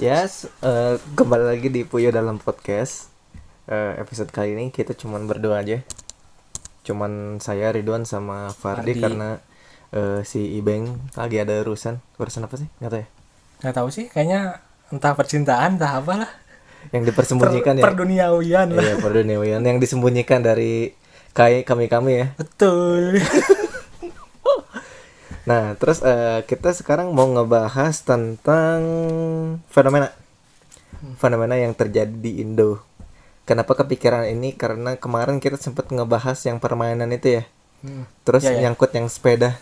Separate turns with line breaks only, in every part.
Yes, eh, kembali lagi di Puyo dalam podcast. Eh, episode kali ini kita cuman berdua aja. Cuman saya Ridwan sama Fardi,
Fardi.
karena eh, si Ibeng lagi ada urusan. Urusan apa sih? Nggak tahu ya.
Nggak tahu sih, kayaknya entah percintaan, entah apalah.
Yang dipersembunyikan ya.
Perduniawian lah.
Iya, perduniawian yang disembunyikan dari kayak kami-kami ya.
Betul.
Nah, terus eh, kita sekarang mau ngebahas tentang fenomena fenomena yang terjadi di Indo. Kenapa kepikiran ini? Karena kemarin kita sempat ngebahas yang permainan itu ya.
Hmm,
Terus
Ya, ya.
nyangkut yang sepeda,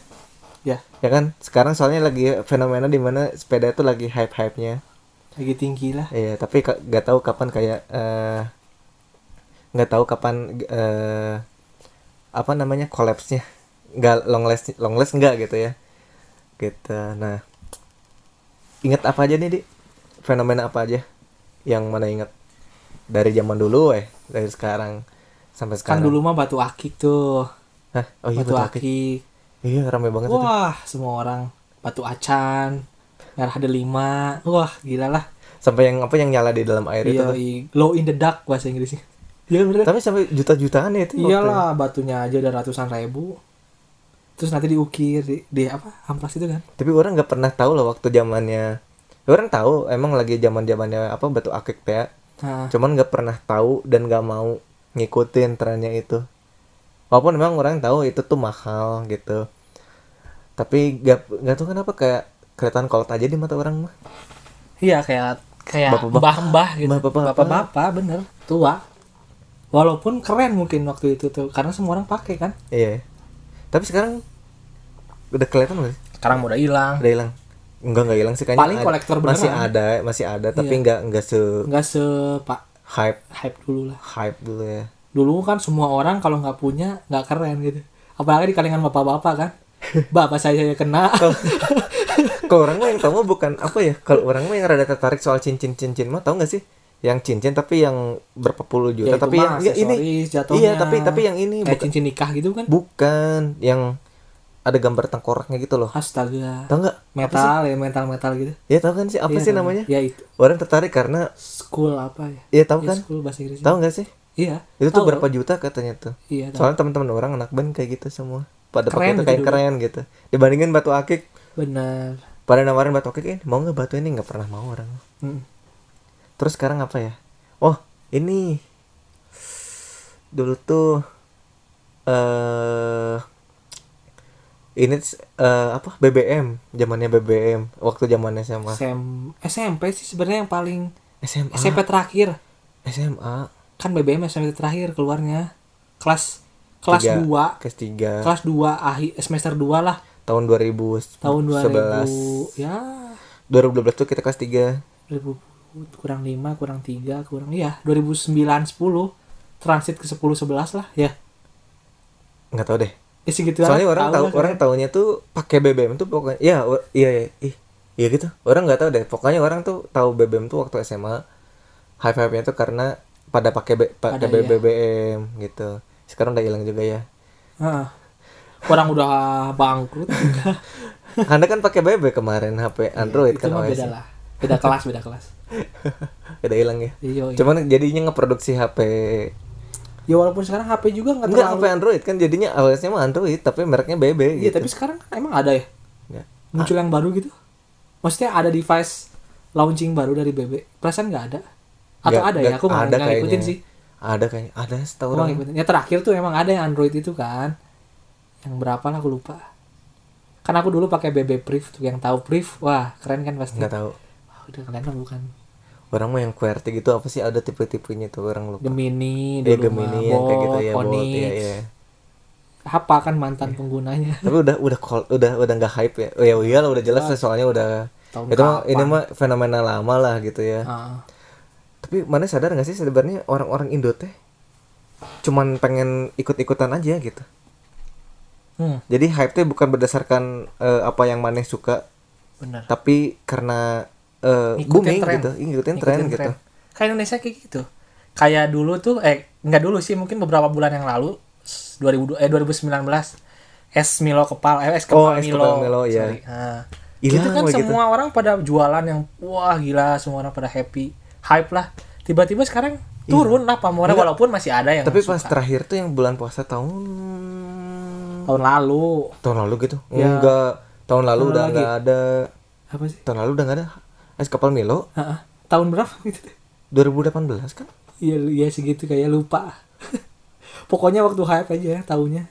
ya,
ya kan? Sekarang soalnya lagi fenomena di mana sepeda itu lagi hype-hype-nya.
lagi tinggi lah.
Iya, tapi ka- nggak tahu kapan kayak eh, nggak tahu kapan eh, apa namanya kolapsnya, nggak longless longless nggak gitu ya, gitu. Nah, ingat apa aja nih di fenomena apa aja yang mana ingat dari zaman dulu eh dari sekarang sampai sekarang.
Kan dulu mah batu akik tuh.
Hah? Oh iya
batu,
betul.
akik.
Iya ramai banget itu.
Wah, semua orang batu acan, merah delima. Wah, gila lah.
Sampai yang apa yang nyala di dalam air itu.
Iya,
tuh.
i- glow in the dark bahasa Inggrisnya. Iya bener.
gitu Tapi sampai juta-jutaan ya itu. waktu-
Iyalah, batunya aja udah ratusan ribu. Terus nanti diukir di, di apa? Amplas itu kan.
tapi orang nggak pernah tahu loh waktu zamannya orang tahu emang lagi zaman zamannya apa batu akik teh ya.
Nah,
cuman nggak pernah tahu dan nggak mau ngikutin trennya itu walaupun memang orang tahu itu tuh mahal gitu tapi nggak nggak tahu kenapa kayak kelihatan kolot aja di mata orang mah
Iya kayak kayak
Bapak-bapak.
mbah-mbah gitu.
Bapak-bapak.
Bapak-bapak bener tua. Walaupun keren mungkin waktu itu tuh karena semua orang pakai kan.
iya tapi sekarang udah kelihatan nggak sih?
Sekarang udah hilang.
udah hilang enggak nggak hilang sih kayaknya
Paling
ada-
kolektor
masih
beneran. Iya.
ada masih ada tapi nggak nggak se
Enggak se pak
hype
hype dulu lah.
hype dulu ya
Dulu kan semua orang kalau nggak punya nggak keren gitu. Apalagi di kalangan bapak-bapak kan. Bapak saya yang kena.
kalau orang mah yang tahu mah bukan apa ya kalau orang mah yang rada tertarik soal cincin cincin mah tahu nggak sih yang cincin tapi yang berapa puluh
Ya,
juta
itu
tapi yang
mah
ya, ini
aksesoris jatuhnya.
iya tapi tapi yang ini
kayak
bukan,
cincin nikah gitu kan.
bukan yang ada gambar tengkoraknya gitu loh
Astaga.
tahu nggak
Metal ya metal-metal gitu.
ya tahu kan sih apa
Iya,
sih
tahu.
namanya
Ya itu
orang tertarik karena
school apa
ya
ya?
tahu
Ya,
kan
school bahasa Inggrisnya.
tahu nggak sih
Iya.
itu tuh
Tahu.
berapa juta katanya tuh
Iya. tahu.
soalnya teman-teman orang anak band kayak gitu semua pada pakai
Keren
itu
gitu
kayak
dulu.
keren gitu dibandingin batu akik
Benar.
pada nawarin batu akik ini mau nggak batu ini nggak pernah mau orang
Mm.
Terus sekarang apa ya? Oh, ini dulu tuh eh ini eh, apa BBM, zamannya BBM, waktu zamannya SMA.
SM, SMP sih sebenarnya yang paling
SMA.
SMP terakhir
SMA
kan BBM SMP terakhir keluarnya kelas kelas
Tiga.
2
kelas 3
kelas 2 akhir semester 2 lah
tahun 2011.
tahun 2000 ya
2012 tuh kita kelas 3.
2000 kurang 5 kurang 3 kurang ya 2009 10 transit ke 10 11 lah ya
Enggak tahu deh.
ya segitu
Soalnya
lah,
orang
tahu
tahu
lah ya.
orang
kalian.
tahunya tuh pakai BBM tuh pokoknya ya or- iya iya ih, iya gitu. Orang nggak tahu deh. Pokoknya orang tuh tahu BBM tuh waktu SMA hype-hype-nya tuh karena pada pakai B- pakai
Pada iya.
BBM gitu. Sekarang udah hilang juga ya.
Heeh. orang udah bangkrut
Anda kan pakai BB kemarin HP Android
Iya, itu
kan
mah
OS.
beda lah beda kelas beda kelas
Udah hilang ya.
Iya, iya.
Cuman jadinya ngeproduksi HP
ya walaupun sekarang HP juga nggak
Enggak
terlalu
HP Android kan jadinya OS-nya mah Android tapi mereknya BB
Iya,
gitu.
tapi sekarang kan emang ada ya
Ya.
muncul yang baru gitu. Maksudnya ada device launching baru dari BB. Perasaan nggak ada? Atau
Nggak-
ada ya?
nggak-
Aku nggak
ada
nggak ngikutin
kayaknya.
sih.
Ada kayaknya. Ada setahu
Aku nggak
orang.
ngikutin. Ya terakhir tuh emang ada yang Android itu kan. Yang berapa lah aku lupa. Karena aku dulu pakai BB Priv tuh yang tahu Priv. Wah, keren kan pasti.
Enggak tahu.
Wah, udah kalian mah bukan
orang mah yang QWERTY gitu apa sih ada tipe-tipenya tuh orang lupa
Gemini
Iya,
dulu
Gemini
mah,
yang kayak gitu
Bot,
ya Bot iya.
Onyx.
ya, ya.
Apa kan mantan penggunanya?
tapi udah udah call, udah udah nggak hype ya oh, ya iyalah udah jelas lah, soalnya udah
Tahun
itu mah ini
kapan?
mah fenomena lama lah gitu ya
Ah,
tapi mana sadar nggak sih sebenarnya orang-orang Indo teh cuman pengen ikut-ikutan aja gitu
hmm,
jadi hype teh bukan berdasarkan eh, apa yang maneh suka
bener.
tapi karena eh,
Ngikutin
booming
tren.
gitu Ih, ngikutin, tren,
Ngikutin
gitu
Kayak Indonesia kayak gitu. Kayak dulu tuh eh nggak dulu sih mungkin beberapa bulan yang lalu s- 2000 eh 2019 es Milo kepal eh es
Oh,
kepal
es
Milo.
Kepal Milo,
sorry. Ah.
Hilang
itu kan
lah gitu.
semua orang pada jualan yang wah gila semua orang pada happy hype lah tiba-tiba sekarang turun lah pamornya walaupun masih ada yang
Iya. Tapi
suka.
pas terakhir tuh yang bulan puasa tahun
tahun lalu
tahun lalu gitu. Enggak. Tahun lalu udah
Ya. lagi.
nggak ada.
apa sih
Tahun lalu udah nggak ada. Es kapal Milo
Heeh. tahun berapa gitu deh.
2018 kan?
Iya iya segitu kayak lupa. Pokoknya waktu hype aja tahunnya.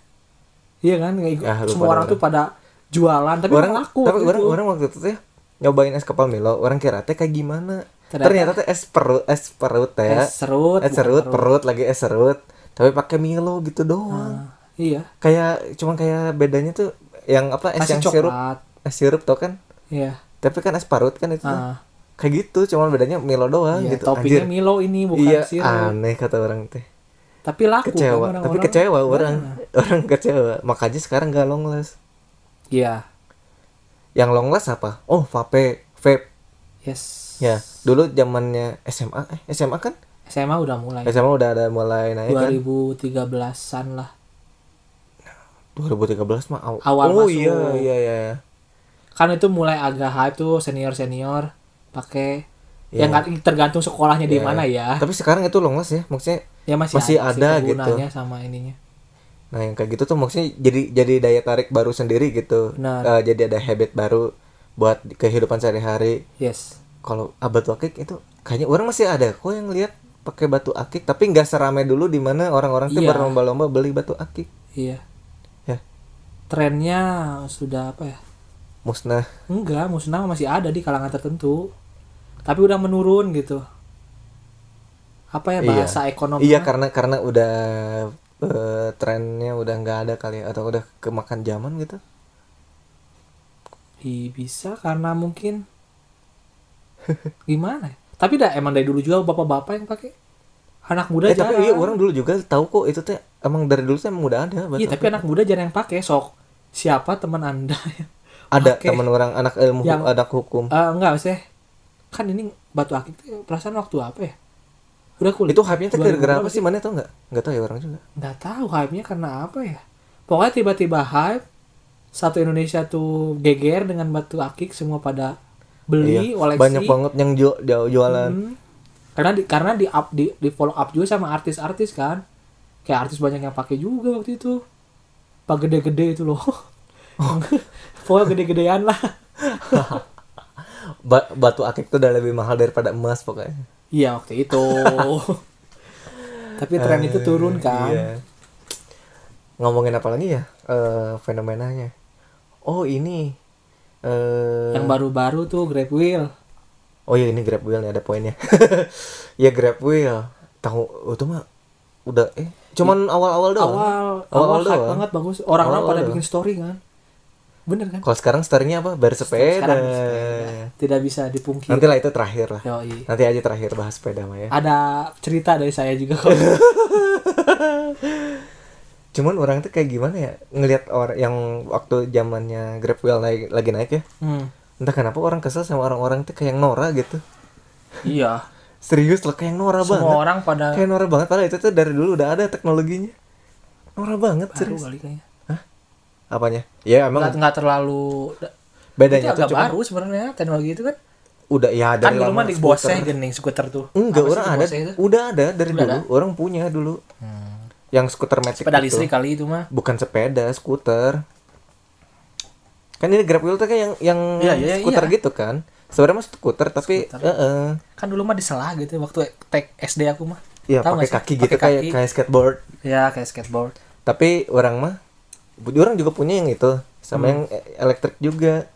Iya kan nggak ikut.
Ya, lupa
semua orang
dah.
tuh pada jualan tapi
orang
orang laku
tapi
waktu
orang
itu.
orang waktu itu tuh ya, nyobain es kapal Milo orang kira teh kayak gimana
Ternyata-
ternyata, tuh es perut es perut teh
Es Eh, serut,
es eh,
bukan
serut
perut.
perut lagi es serut tapi pakai Milo gitu doang
Nah, iya.
kayak cuman kayak bedanya tuh yang apa es
Kasih
yang sirup
coklat.
es sirup tau kan
Iya.
tapi kan es parut kan itu tuh.
Ah,
kayak gitu cuman bedanya Milo doang
iya,
gitu Anjir.
toppingnya Milo ini bukan
iya
sirup.
aneh kata orang teh
tapi laku kan
kecewa
orang-orang.
tapi kecewa orang orang kecewa makanya sekarang gak longless
Iya.
yang longless apa oh vape vape
Yes.
Ya, dulu zamannya SMA, eh SMA kan?
SMA udah mulai.
SMA udah ada mulai naik kan?
2013-an lah.
2013 mah aw-
Awal
Oh
masuk.
iya, iya, iya. iya.
Kan itu mulai agak hype tuh senior-senior pakai
Iya.
yang nggak- tergantung sekolahnya di
Iya.
mana ya.
Tapi sekarang itu longless ya, maksudnya.
ya masih,
Masih ada
sih
gitu.
kegunaannya sama ininya
Nah, yang kayak gitu tuh maksudnya jadi jadi daya tarik baru sendiri gitu.
Benar.
Eh, jadi ada habit baru buat di kehidupan sehari-hari.
yes
Kalau ah, batu akik itu kayaknya orang masih ada kok yang lihat pakai batu akik, tapi nggak seramai dulu di mana orang-orang tuh
Iya.
berlomba-lomba beli batu akik.
iya
Ya,
trennya sudah apa ya
musnah.
enggak musnah masih ada di kalangan tertentu tapi udah menurun gitu apa ya bahasa ekonomi
Iya karena karena udah eh, trennya udah nggak ada kali ya, atau udah kemakan zaman gitu.
Ih, bisa karena mungkin gimana ya? tapi dah emang dari dulu juga bapak-bapak yang pakai anak muda
Eh,
jarang
tapi iya orang dulu juga tahu kok itu teh emang dari dulu teh emang udah ada. Batu.
Iya, tapi anak muda jarang yang pakai sok siapa teman anda yang
ada
pakai?
teman orang anak ilmu
Yang-
anak hukum.
Eh, enggak maksudnya kan ini batu akik tuh perasaan waktu apa ya udah kulit
itu hype-nya teh
2000
gara-gara apa
berapa
sih mana tau nggak? Nggak tahu ya orang juga.
nggak tahu hype nya karena apa ya pokoknya tiba-tiba hype satu Indonesia tuh geger dengan batu akik semua pada
Iya,
beli koleksi
Banyak banget yang jual jual- jualan.
Hmm. karena di karena di up di, di follow up juga sama artis-artis kan kayak artis banyak yang pakai juga waktu itu pak gede-gede itu loh
Oh.
pokoknya gede-gedean lah
Ba- batu akik tuh udah lebih mahal daripada emas pokoknya.
Iya waktu itu. Tapi tren itu turun kan.
Iya. Ngomongin apa lagi ya? Eh, fenomenanya. Oh, ini eh
Yang baru-baru tuh Grab Wheel.
Oh iya ini Grab Wheel nih ada poinnya. ya Grab Wheel. Tahu oh, itu mah udah eh cuman awal-awal doang.
Awal awal
Awal-awal
hype
doang.
banget bagus. Orang-orang
Awal-awal
pada
doang.
bikin story kan. Bener kan?
Kalau sekarang story-nya apa? Bersepeda.
Sekarang sepeda. Tidak bisa dipungkiri.
Nanti lah itu terakhir lah.
Yoi.
Nanti aja terakhir bahas sepeda mah ya.
Ada cerita dari saya juga kok.
Cuman orang tuh kayak gimana ya ngelihat orang yang waktu zamannya Grab Wheel naik, lagi naik ya.
Hmm,
Entah kenapa orang kesel sama orang-orang tuh kayak yang Nora gitu.
Iya.
Serius loh kayak yang Nora
Semua
banget.
orang pada
Kayak Nora banget padahal itu tuh dari dulu udah ada teknologinya. Nora banget
baru
serius.
kali kayaknya.
Apanya? Ya emang
Nggak, nggak terlalu itu
bedanya tuh
agak
cuma
baru sebenarnya teknologi itu kan.
udah ya
Kan
dari
dulu mah
lama
di
skuter.
Bose gini skuter tuh.
enggak
Apa sih
orang
di
ada
Bose itu?
udah ada dari
Udah Hmm.
dulu orang punya dulu yang skuter metik
Sepeda
itu.
listrik kali itu mah.
bukan sepeda skuter kan ini grab wheel tuh kayak yang yang
Iya, iya,
skuter
iya.
gitu kan sebenarnya mah skuter tapi
Skuter.
eh-eh.
kan dulu mah disela gitu waktu tek SD aku mah
ya pakai
Tahu nggak sih?
kaki
Pakai
gitu kayak
kaki.
kayak skateboard
ya kayak skateboard
tapi orang mah bu- orang juga punya yang itu
Hmm.
sama yang e- elektrik juga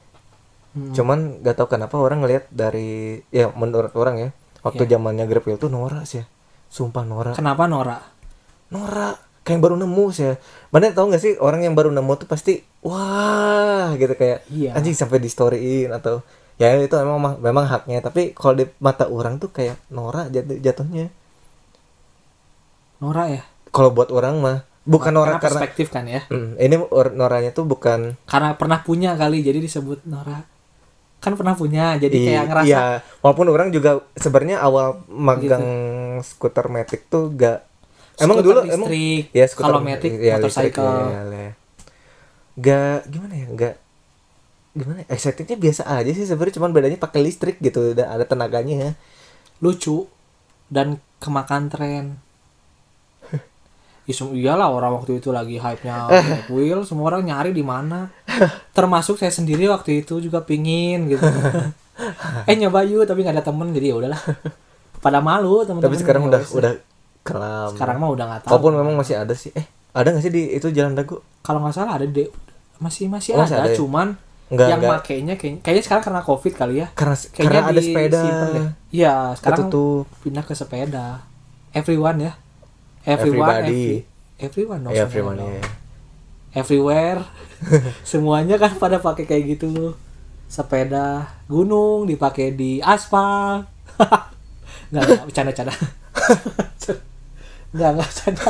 cuman gak tahu kenapa orang ngelihat dari ya menurut orang ya waktu
Iya.
zamannya grab wheel tuh norak sih ya. sumpah norak
kenapa Nora
norak kayak yang baru nemu sih ya mana tau gak sih orang yang baru nemu tuh pasti wah gitu kayak
Iya.
anjing sampai di storyin atau ya itu emang mah- memang haknya tapi kalau di mata orang tuh kayak norak jatuh jatuhnya
Nora ya
kalau buat orang mah bukan
karena,
norak karena
perspektif kan ya
Mm, ini or- noranya tuh bukan
karena pernah punya kali jadi disebut Nora kan pernah punya jadi
I-
kayak ngerasa
iya. walaupun orang juga sebenarnya awal magang skuter metik tuh gak emang
Gitu. Skuter
dulu emang
listrik,
ya skuter
kalau matic,
ya, listrik,
motorcycle.
ya, ya, ya. gak gimana ya gak gimana excitingnya biasa aja sih sebenarnya cuman bedanya pakai listrik gitu dan ada tenaganya ya
lucu dan kemakan tren Isum iyalah orang waktu itu lagi hype-nya Hot Wheels, semua orang nyari di mana. Termasuk saya sendiri waktu itu juga pingin gitu. eh nyoba yuk tapi nggak ada temen jadi ya udahlah. Pada malu temen-temen.
tapi sekarang
Ya
udah
wes.
udah kelam
sekarang mah udah nggak tahu.
walaupun memang masih ada sih eh ada nggak sih di itu jalan dagu
Kalau nggak salah ada di masih masih
Oh, masih ada
ada,
ya?
cuman
Nggak,
yang
nggak.
makainya kayaknya, kayaknya sekarang karena covid kali ya.
karena
Kayaknya
karena ada sepeda
disimpen deh. Iya sekarang
ketutup
pindah ke sepeda. Everyone ya. Everyone,
Everybody.
every- everyone dong.
ya
semuanya
Freeman
dong.
ya
everywhere semuanya kan pada pakai kayak gitu sepeda gunung dipakai di aspal nggak nggak bercanda bercanda nggak nggak bercanda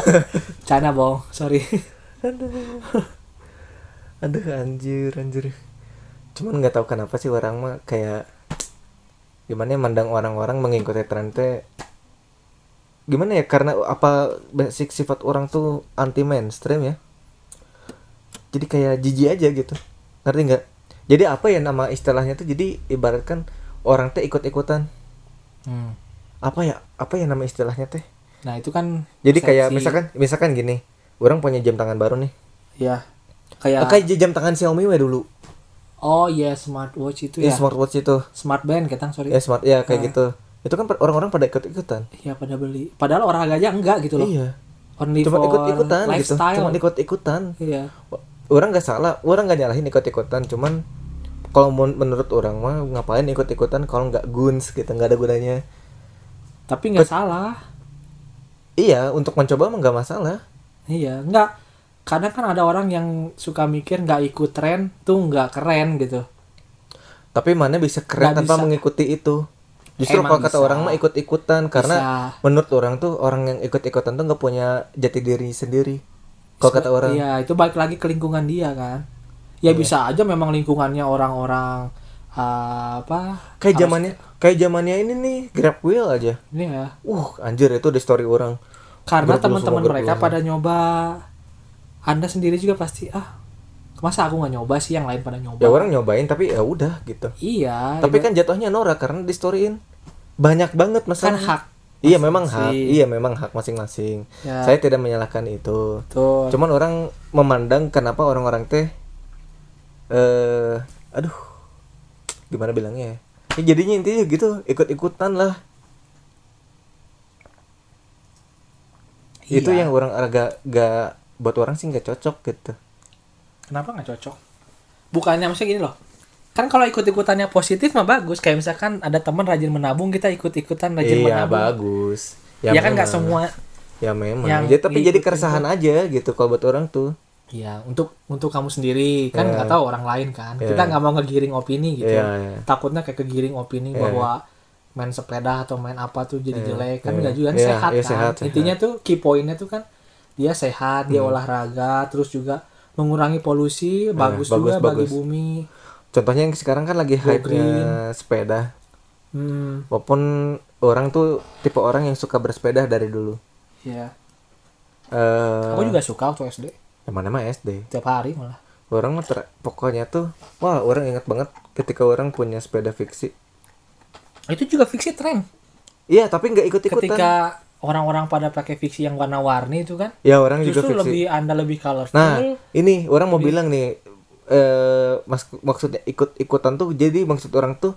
bercanda bohong sorry
aduh anjir anjir cuman nggak tahu kenapa sih orang mah kayak gimana ya mandang orang-orang mengikuti tren teh gimana ya karena apa basic sifat orang tuh anti mainstream ya jadi kayak jijik aja gitu ngerti nggak jadi apa ya nama istilahnya tuh jadi ibaratkan orang teh ikut-ikutan
Hmm.
apa ya apa ya nama istilahnya teh
nah itu kan
jadi kayak
persepsi.
misalkan misalkan gini orang punya jam tangan baru nih
ya kayak
Pakai Oh, jam tangan Xiaomi we dulu
oh ya smartwatch itu
ya
ya
smartwatch itu
smart band ketang sorry
ya smart ya kayak
Nah.
gitu itu kan per- orang-orang pada ikut ikutan
ya pada beli padahal olahraganya enggak gitu loh
iya
only
cuma
for
ikut ikutan gitu
lifestyle
cuma ikut ikutan
iya
orang nggak salah orang nggak nyalahin ikut ikutan cuman kalau men- menurut orang mah ngapain ikut ikutan kalau nggak guns gitu nggak ada gunanya
tapi nggak salah
iya untuk mencoba mah nggak masalah
Iya, enggak. Kadang kan ada orang yang suka mikir nggak ikut tren tuh nggak keren gitu.
tapi mana bisa keren
Nggak
tanpa
bisa.
mengikuti itu justru
Emang
kalau kata
bisa.
orang mah ikut ikutan karena
Bisa-
menurut orang tuh orang yang ikut ikutan tuh nggak punya jati diri sendiri kalau kata orang Iya.
Iya, itu balik lagi ke lingkungan dia kan. Ya bisa aja memang lingkungannya orang-orang uh, apa?
kayak zamannya kayak zamannya ini nih grab wheel aja
Ini ya.
uh anjir itu di story orang
Karena
Berbulu semua,
teman-teman
berbulu
mereka
semua.
pada nyoba. Anda sendiri juga pasti ah, masa aku nggak nyoba sih yang lain pada nyoba.
ya orang nyobain tapi ya udah gitu
Iya.
tapi kan jatuhnya norak karena di storyin banyak banget
kan
masalah
hak.
iya memang hak
masing-masing.
iya memang hak masing-masing
Ya.
saya tidak menyalahkan itu
Tuh.
cuman orang memandang kenapa orang-orang teh eh aduh gimana bilangnya ya? ya jadinya intinya gitu ikut-ikutan lah itu
Iya.
yang orang agak gak buat orang sih nggak cocok gitu
Kenapa nggak cocok? Bukannya maksudnya gini loh. Kan kalau ikut-ikutannya positif mah bagus. Kayak misalkan ada teman rajin menabung, kita ikut-ikutan rajin
iya
menabung.
bagus
Ya, kan nggak
memang.
semua.
ya memang
yang
Jadi- tapi jadi
ngikutin
keresahan aja gitu kalau buat orang tuh
Iya, untuk untuk kamu sendiri kan nggak tahu orang lain kan. Kita
Iya.
nggak mau ngegiring opini gitu.
Iya, iya.
Takutnya kayak kegiring opini bahwa main sepeda atau main apa tuh jadi jelek kan
iya.
nggak juga kan
Iya,
sehat
iya,
kan.
sehat, Hmm. sehat.
Intinya tuh key pointnya tuh kan dia sehat, dia olahraga, terus juga mengurangi polusi, bagus,
Iya, bagus,
juga bagi
bagus.
bumi.
contohnya yang sekarang kan lagi hype
green.
sepeda
Hmm,
walaupun orang tuh tipe orang yang suka bersepeda dari dulu
ya.
eh
Aku juga suka waktu SD.
yang mana mah SD
tiap hari malah
orang mah ter- pokoknya tuh wah orang ingat banget ketika orang punya sepeda fiksi
itu juga fiksi tren
iya tapi nggak ikut ikutan
ketika orang-orang pada pakai fiksi yang warna-warni itu kan
ya orang juga
justru
fiksi
lebih anda lebih colorful
Nah, ini orang mau bilang nih eh mas maksudnya ikut-ikutan tuh jadi maksud orang tuh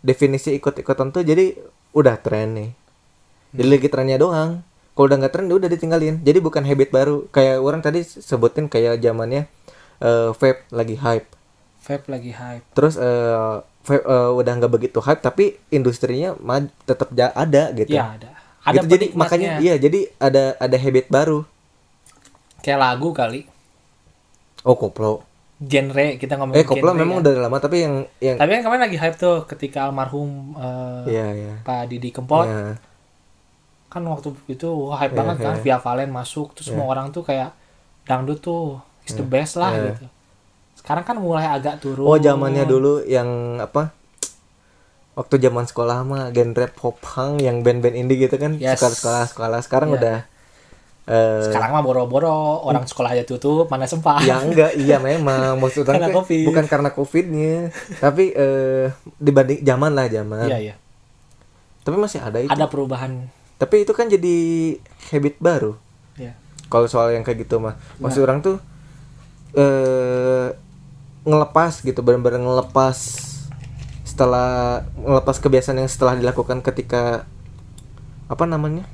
definisi ikut-ikutan tuh jadi udah tren nih. Jadi
Hmm.
lagi trennya doang. Kalau udah nggak tren ya udah ditinggalin. Jadi bukan habit baru. Kayak orang tadi sebutin kayak zamannya eh vape lagi hype.
vape lagi hype
Terus eh vape eh, udah nggak begitu hype tapi industrinya ma- tetap ja- ada gitu.
ya ada ada
Gitu, jadi
penikmatnya.
makanya iya jadi ada ada habit baru.
kayak lagu kali
Oh, koplo.
genre kita ngomongin
Eh, koplo
genre
memang
ya.
udah lama tapi yang yang
tapi kan kemarin lagi hype tuh ketika almarhum eh,
Iya, iya.
Pak Didi Kempot
Iya.
kan waktu itu wah, hype banget kan Via Valen masuk terus
Iya.
semua orang tuh kayak dangdut tuh is the best lah gitu sekarang kan mulai agak turun
Oh, zamannya dulu yang apa? Waktu zaman sekolah mah genre pop punk yang band-band indie gitu kan
Yes.
sekolah sekolah sekolah sekarang
Iya.
udah eh
Sekarang mah boro-boro orang sekolah aja tutup, mana sempat.
ya enggak Hmm. iya memang maksud orang
Karena
tuh
Covid.
bukan karena covidnya tapi eh dibanding zaman lah zaman
Iya, iya.
tapi masih ada itu
Ada perubahan.
tapi itu kan jadi habit baru
Ya.
kalau soal yang kayak gitu mah
Iya.
maksud orang tuh eh ngelepas gitu benar-benar ngelepas setelah ngelepas kebiasaan yang setelah dilakukan ketika apa namanya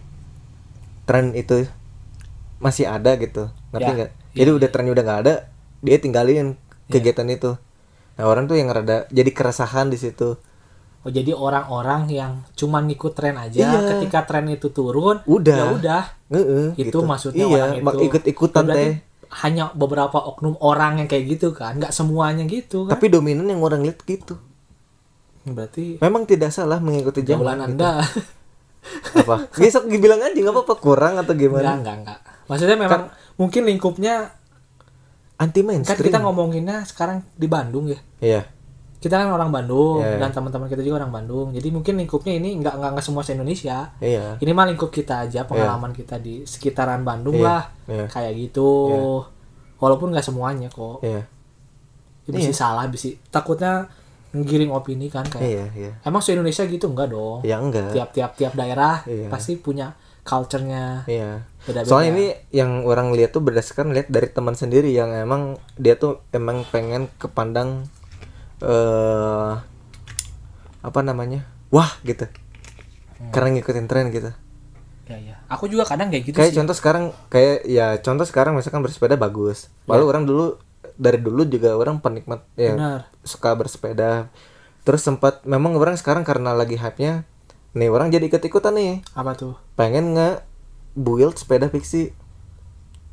tren itu masih ada gitu ngerti
Ya.
nggak jadi udah trennya udah nggak ada dia
Iya.
tinggalin kegiatan itu nah orang tuh yang rada jadi keresahan di situ
Oh, jadi orang-orang yang cuman ngikut tren aja,
Iya.
ketika tren itu turun,
Udah.
ya udah.
Nge-eh,
Itu maksudnya
iya,
orang
mak-
itu.
ikut-ikutan
Berarti
teh
Hanya beberapa oknum orang yang kayak gitu kan, nggak semuanya gitu kan.
tapi dominan yang orang lihat gitu
Berarti
memang tidak salah mengikuti zaman
jaulan Anda.
apa besok dibilang aja nggak apa-apa kurang atau
enggak,
gimana
enggak, enggak. Maksudnya memang mungkin lingkupnya
anti
kan
Kan mainstream
kita ngomonginnya sekarang di Bandung ya.
iya
Kita kan orang Bandung
Iya.
dan teman-teman kita juga orang Bandung. Jadi mungkin lingkupnya ini enggak enggak, enggak semua se-Indonesia.
iya
Ini mah lingkup kita aja, pengalaman kita di sekitaran Bandung
Iya,
lah.
iya.
Kayak gitu. Walaupun nggak semuanya kok.
iya
Ya, bisa salah, bisa takutnya ngiring opini kan kayak.
iya iya
Emang se-Indonesia gitu enggak dong.
ya enggak
Tiap-tiap tiap daerah
Iya.
pasti punya culture-nya
iya
beda-beda.
soalnya ini yang orang lihat tuh berdasarkan lihat dari teman sendiri yang emang dia tuh emang pengen kepandang eh apa namanya wah gitu
Hmm.
karena ngikutin tren gitu
Ya, ya. Aku juga kadang kayak gitu
kayak
sih.
contoh sekarang kayak ya contoh sekarang misalkan bersepeda bagus lalu orang dulu dari dulu juga orang penikmat ya
Iya. Benar.
suka bersepeda terus sempat memang orang sekarang karena lagi hype nya nih orang jadi ikut ikutan nih
Apa tuh?
pengen nge build sepeda fiksi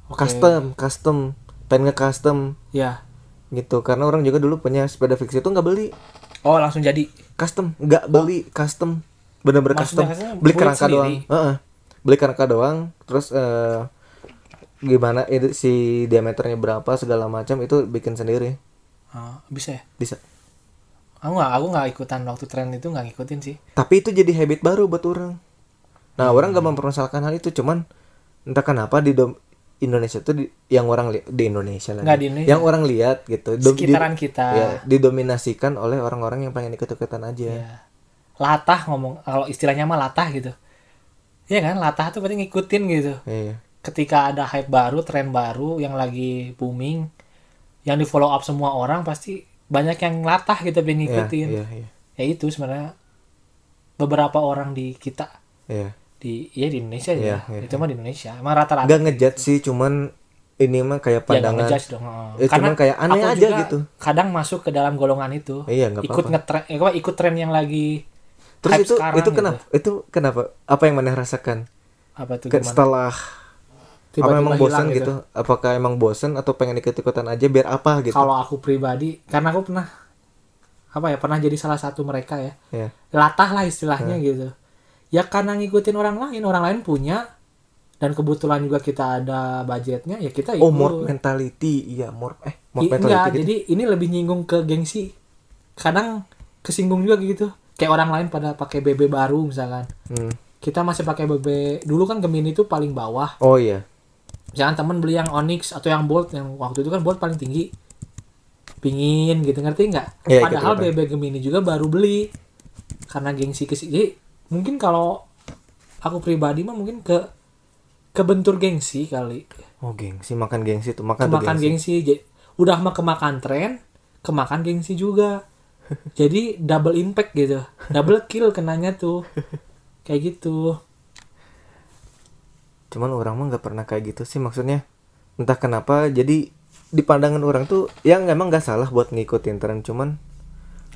Oke.
custom custom pengen nge custom
Ya.
gitu karena orang juga dulu punya sepeda fiksi itu nggak beli
Oh, langsung jadi.
custom nggak beli custom bener-bener custom
Maksudnya custom
beli
build
kerangka
sendiri?
doang Heeh. beli kerangka doang terus eh, gimana itu si diameternya berapa segala macam itu bikin sendiri
Ah, bisa ya?
bisa
Aku nggak, aku nggak ikutan waktu tren itu nggak ngikutin sih.
tapi itu jadi habit baru buat orang nah orang
Hmm.
nggak mempermasalahkan hal itu cuman entah kenapa di dom- Indonesia tuh di- yang orang li- di Indonesia lagi
Nggak di Indonesia.
yang orang lihat gitu dom- di-
Sekitaran kita.
ya, didominasikan oleh orang-orang yang pengen ikut-ikutan aja
Ya. Latah ngomong, kalau istilahnya mah latah gitu. Iya kan, latah tuh berarti ngikutin gitu.
iya
Ketika ada hype baru, tren baru yang lagi booming, yang di follow up semua orang pasti banyak yang latah gitu pengen
iya
ngikutin.
iya iya
Ya itu sebenarnya beberapa orang di kita
iya.
di ya di Indonesia ya.
Iya, iya.
Itu mah di Indonesia. Emang rata-rata
nggak ngejat sih cuman ini mah kayak
Ya, nggak
pandangan
ngejudge dong. heeh.
Eh, cuman kayak aneh
aku
aja
juga
gitu.
Kadang masuk ke dalam golongan itu.
Iya, nggak
ikut
apa-apa.
ngetren, eh, apa, ikut tren yang lagi
terus
hype
itu
sekarang
itu
gitu.
kenapa itu kenapa apa yang mana rasakan
Apa tuh
Ke-
gimana?
setelah apa
Tiba-tiba
emang
hilang
bosan gitu. apakah emang bosan atau pengen ikut ikutan aja biar apa gitu
Kalau aku pribadi, karena aku pernah apa ya pernah jadi salah satu mereka ya.
ya
Latah lah
Nah.
istilahnya gitu. Ya karena ngikutin orang lain, orang lain punya dan kebetulan juga kita ada budgetnya ya kita ikut.
oh more mentality iya more eh more
I- enggak,
mentality gitu
jadi ini lebih nyinggung ke gengsi. Kadang kesinggung juga gitu. Kayak orang lain pada pakai BB baru misalkan.
Hmm.
Kita masih pakai BB. Dulu kan Gemini itu paling bawah.
oh iya
Misalkan temen beli yang Onyx atau yang Bolt yang waktu itu kan Bolt paling tinggi. Pingin gitu ngerti nggak?
Iya,
Padahal
ikut-ikutan.
BB Gemini juga baru beli. Karena gengsi ke Jadi mungkin kalau aku pribadi mah mungkin ke kebentur gengsi kali.
oh gengsi makan gengsi tuh makan tuh
kemakan gengsi. Jadi, udah mah kemakan tren, kemakan gengsi juga. Jadi double impact gitu. Double kill kenanya tuh. Kayak gitu.
cuman orang mah nggak pernah kayak gitu sih maksudnya entah kenapa jadi di pandangan orang tuh yang emang nggak salah buat ngikutin tren cuman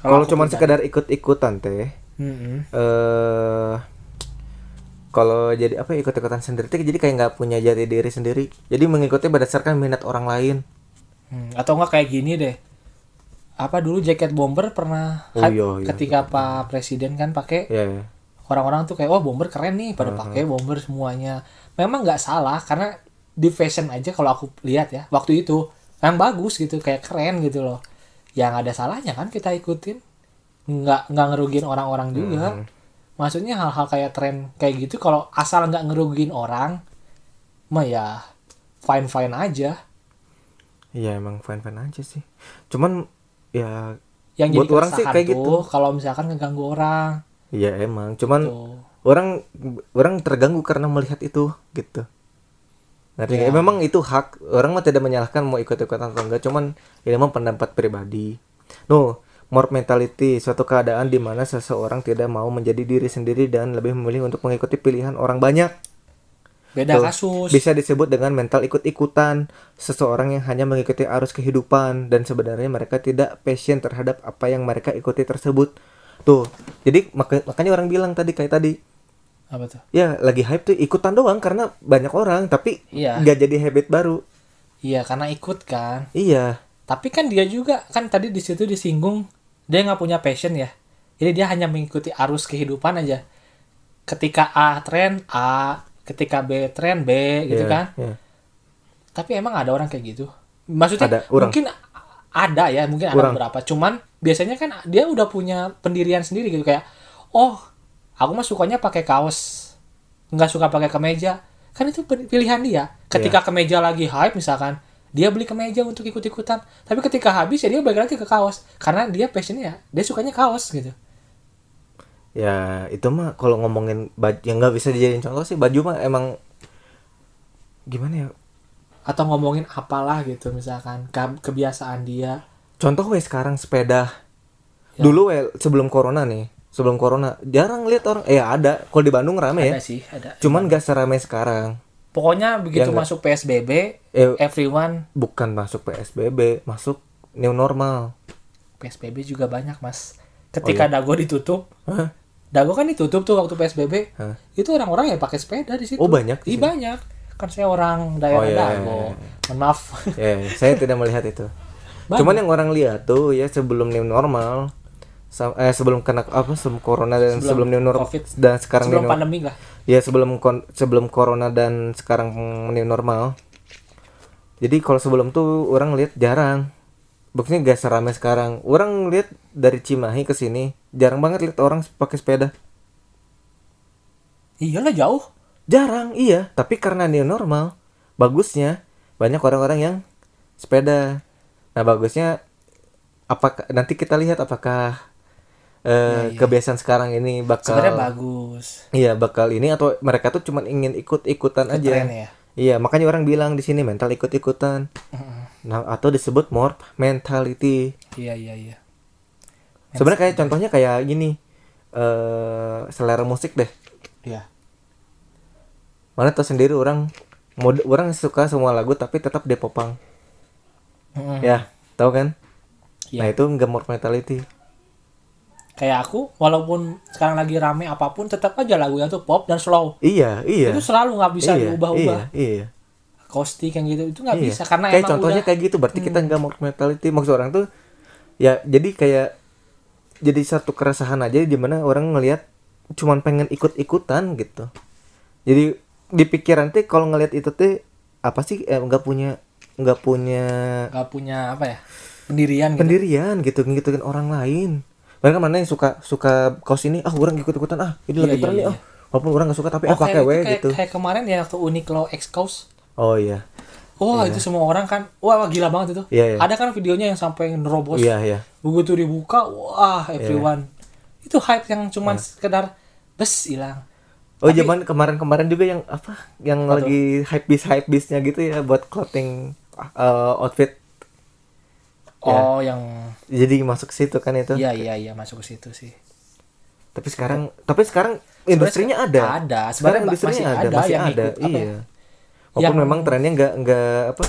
Kalau
kalau
aku
cuman
pribadi.
sekedar ikut ikutan teh
Mm-mm.
eh kalau jadi apa ya, ikut-ikutan sendiri tuh jadi kayak nggak punya jati diri sendiri jadi mengikuti berdasarkan minat orang lain
Hmm, Atau enggak kayak gini deh. Apa dulu jaket bomber pernah
Oh,
hype
iya, iya.
ketika Pak Presiden kan pakai
ya ya
orang-orang tuh kayak wah bomber keren nih pada pakai bomber semuanya. Memang nggak salah karena di fashion aja kalau aku lihat ya waktu itu yang bagus gitu kayak keren gitu loh. Yang ada salahnya kan kita ikutin nggak nggak ngerugiin orang-orang juga. Maksudnya hal-hal kayak tren kayak gitu kalau asal nggak ngerugiin orang mah ya fine fine aja
Iya emang fan-fan aja sih. Cuman ya
yang
Buat
jadi
orang sih
keresahan
kayak gitu.
tuh kalau misalkan ngeganggu orang
ya emang. Cuman
tuh
orang orang terganggu karena melihat itu gitu. Ngerti nggak?
Ya.
Memang itu hak orang mah tidak menyalahkan mau ikut-ikutan atau enggak. Cuman ini memang pendapat pribadi. No, mob mentality suatu keadaan di mana seseorang tidak mau menjadi diri sendiri dan lebih memilih untuk mengikuti pilihan orang banyak.
beda
Tuh,
kasus
Bisa disebut dengan mental ikut-ikutan, seseorang yang hanya mengikuti arus kehidupan dan sebenarnya mereka tidak passion terhadap apa yang mereka ikuti tersebut. Tuh, jadi maka- makanya orang bilang tadi kayak tadi,
apa tuh
ya lagi hype tuh ikutan doang karena banyak orang tapi
Iya.
nggak jadi habit baru.
iya karena ikut kan
Iya,
tapi kan dia juga kan tadi di situ disinggung dia nggak punya passion ya jadi dia hanya mengikuti arus kehidupan aja ketika A tren A ketika B tren B gitu
Iya,
kan
iya.
tapi emang ada orang kayak gitu maksudnya
Ada, orang.
mungkin ada ya mungkin ada
Orang.
beberapa cuman biasanya kan dia udah punya pendirian sendiri gitu kayak oh aku mah sukanya pakai kaos nggak suka pakai kemeja kan itu pe- pilihan dia ketika
Iya.
kemeja lagi hype misalkan dia beli kemeja untuk ikut ikutan tapi ketika habis ya dia balik lagi ke kaos karena dia passionnya ya dia sukanya kaos gitu
Ya, itu mah kalau ngomongin baju yang nggak bisa dijadiin contoh sih baju mah emang gimana ya?
atau ngomongin apalah gitu misalkan ke- kebiasaan dia
Contoh weh sekarang sepeda.
Ya.
Dulu weh sebelum corona nih, sebelum corona jarang lihat orang eh ada, kalau di Bandung rame ya.
ada sih ada
Cuman gak seramai sekarang.
pokoknya begitu
Iya, nggak-
masuk psbb
Eh
everyone
bukan masuk PSBB, masuk new normal.
PSBB juga banyak
Oh,
mas.
iya?
Ketika dago ditutup, dago kan ditutup tuh waktu PSBB.
Hah?
Itu orang-orang yang pakai sepeda di situ.
Oh, banyak di
Iya
situ?
banyak. Kan saya orang daerah
Oh, iya,
dago.
iya,
Mohon maaf.
Ya, saya tidak melihat itu.
Banyak.
Cuman yang orang lihat tuh ya sebelum new normal sam- eh sebelum kena apa sebelum corona dan sebelum, new normal
COVID.
dan sekarang
Sebelum
new normal.
pandemi lah.
Ya sebelum kon- sebelum corona dan sekarang new normal. Jadi kalau sebelum tuh orang lihat jarang. Maksudnya gak seramai sekarang. Orang lihat dari Cimahi ke sini jarang banget lihat orang pakai sepeda.
Iyalah jauh.
Jarang, iya. Tapi karena new normal, bagusnya banyak orang-orang yang sepeda. Nah, bagusnya apakah nanti kita lihat apakah eh, kebiasaan sekarang ini bakal
Sebenarnya bagus.
iya bakal ini atau mereka tuh cuman ingin ikut-ikutan aja.
Keren ya.
Iya, makanya orang bilang di sini mental ikut-ikutan. Nah, atau disebut morph mentality.
Iya iya iya.
Sebenarnya kayak contohnya kayak gini. eh selera musik deh.
Iya.
Mana tau sendiri orang mode orang suka semua lagu tapi tetap Depopang.
Mm-mm.
Ya, tahu kan?
Hmm. Iya.
Nah, itu nggak more mentality.
Kayak aku, walaupun sekarang lagi rame apapun, tetap aja lagunya tuh pop dan slow.
Iya, iya.
Itu selalu nggak bisa
iya,
diubah-ubah.
Iya, iya.
Kostik yang gitu itu nggak
iya.
bisa karena
kayak
emang
contohnya
udah Hmm.
kayak gitu berarti kita nggak more mentality maksud orang tuh ya jadi kayak jadi satu keresahan aja di mana orang ngelihat cuman pengen ikut-ikutan gitu. Jadi di pikiran tuh kalau ngelihat itu tuh apa sih eh, nggak punya nggak punya
nggak punya apa ya pendirian gitu.
pendirian gitu ngikutin orang lain mereka mana yang suka suka kaos ini ah orang ikut ikutan ah ini lebih
iya,
tren nih
iya.
ah walaupun orang gak suka tapi ah
Oh,
pakai
kayak,
we
itu kayak,
gitu
kayak kemarin ya waktu Uniqlo X Cause.
oh iya
Wah, itu semua orang kan. Wah, wah, gila banget itu.
Iya, iya.
Ada kan videonya yang sampai nerobos.
iya iya
Begitu dibuka, wah, everyone. Itu hype yang
Iya.
cuman sekedar bes hilang.
oh zaman kemarin kemarin juga yang apa yang lagi hype bis hype bisnya gitu ya buat clothing uh, outfit Iya.
Oh, yang
jadi masuk ke situ kan itu
iya iya iya masuk ke situ sih.
tapi sekarang tapi sekarang industrinya ada
ada. Sebenarnya
sekarang
ma-
industrinya
masih
ada
ada
masih
yang
ada
ikut, apa ya?
iya walaupun
Yang-
memang trennya nggak nggak apa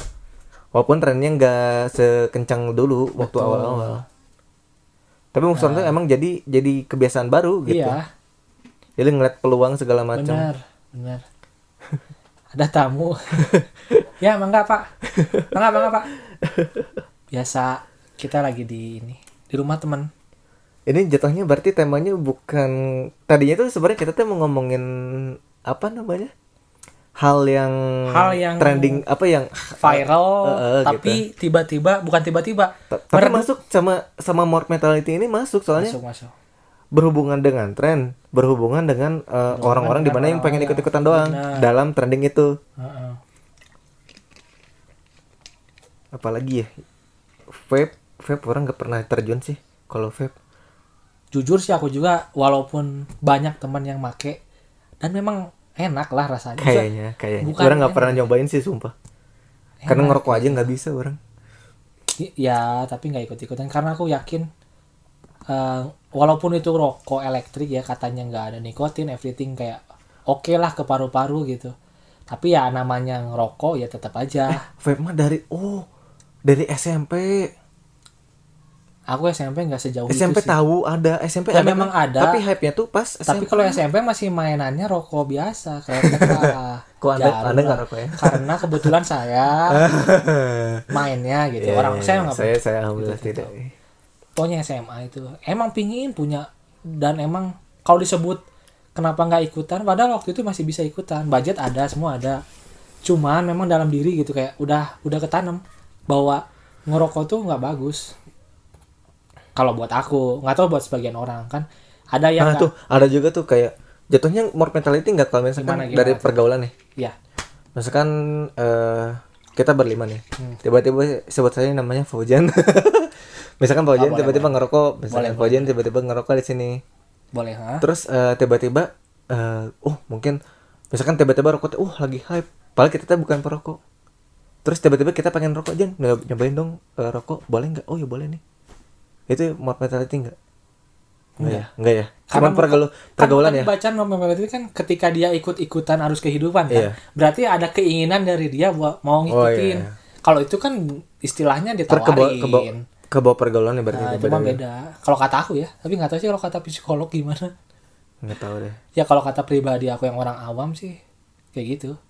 walaupun trennya nggak sekencang dulu waktu awal-awal tapi maksud orang tuh emang jadi jadi kebiasaan baru gitu
Nah. Iya,
jadi ngeliat peluang segala macam
benar, benar. ada tamu. ya, mangga, Pak. Mangga, mangga, Pak. Biasa kita lagi di ini, di rumah teman.
ini jatuhnya berarti temanya bukan tadinya tuh sebenarnya kita tuh mau ngomongin apa namanya hal yang
Hal yang-
trending apa yang
viral
Heeh,
tapi tiba-tiba bukan tiba-tiba
Ta- gitu ya. tapi
meredup-
masuk sama sama more mentality ini masuk soalnya
masuk masuk
berhubungan dengan tren, berhubungan dengan eh, orang-orang di mana yang pengen ikut-ikutan doang dalam trending itu.
Heeh.
apalagi ya vape vape orang nggak pernah terjun sih kalau vape
jujur sih aku juga walaupun banyak teman yang make dan memang enak lah rasanya
kayaknya kayaknya
bukan
orang nggak
enak.
pernah nyobain sih sumpah karena
Enak.
ngerokok aja nggak bisa orang
I- ya tapi nggak ikut ikutan karena aku yakin eh, walaupun itu rokok elektrik ya katanya nggak ada nikotin everything kayak oke lah ke paru-paru gitu tapi ya namanya ngerokok ya tetap aja
vape mah dari oh dari SMP
aku SMP nggak sejauh
SMP
itu Oh, gitu sih
tahu ada SMP
Ya,
ada
memang
kan?
ada.
tapi hype nya tuh pas
tapi
SMP.
kalau SMP masih mainannya rokok biasa kayak TKA,
Kok Anda-
jarum
Anda nggak
lah.
rokok ya?
karena kebetulan saya mainnya gitu
Iya,
orang
iya,
saya
iya.
nggak
saya saya alhamdulillah
gitu,
tidak
pokoknya SMA itu emang pingin punya dan emang kalau disebut kenapa nggak ikutan padahal waktu itu masih bisa ikutan budget ada semua ada cuman memang dalam diri gitu kayak udah udah ketanam bahwa ngerokok tuh nggak bagus kalau buat aku nggak tahu buat sebagian orang kan ada yang
nah
nggak-
tuh ada juga tuh kayak jatuhnya more mentality nggak kalau misalkan
Gimana, gimana
dari
tuh?
pergaulan nih
ya
misalkan eh, kita berlima nih
Hmm.
tiba-tiba sebut saya namanya Fauzan misalkan Fauzan
Ah, boleh,
tiba-tiba ngerokok misalkan
Boleh, Ah.
Fauzan tiba-tiba ngerokok di sini
boleh ha
terus eh, tiba-tiba eh oh mungkin misalkan tiba-tiba rokok tuh, uh lagi hype padahal kita tuh bukan perokok terus tiba-tiba kita pengen rokok Jan Nyob- nyobain dong eh, rokok boleh nggak oh ya boleh nih itu more mentality nggak nggak ya nggak ya
Karena
cuman pergaul
Kan
pergaulan
tadi
ya
Bacaan normality itu kan ketika dia ikut-ikutan arus kehidupan kan.
Iya.
Berarti ada keinginan dari dia buat mau ngikutin.
Oh, iya, iya.
Kalau itu kan istilahnya
terkebawa
ditawarin.
kebawa kebawa pergaulan ya berarti
Nah,
itu
cuma
beda-beda.
beda. Kalau kata aku ya, tapi nggak tahu sih kalau kata psikolog gimana.
nggak tahu deh
Ya kalau kata pribadi aku yang orang awam sih kayak gitu.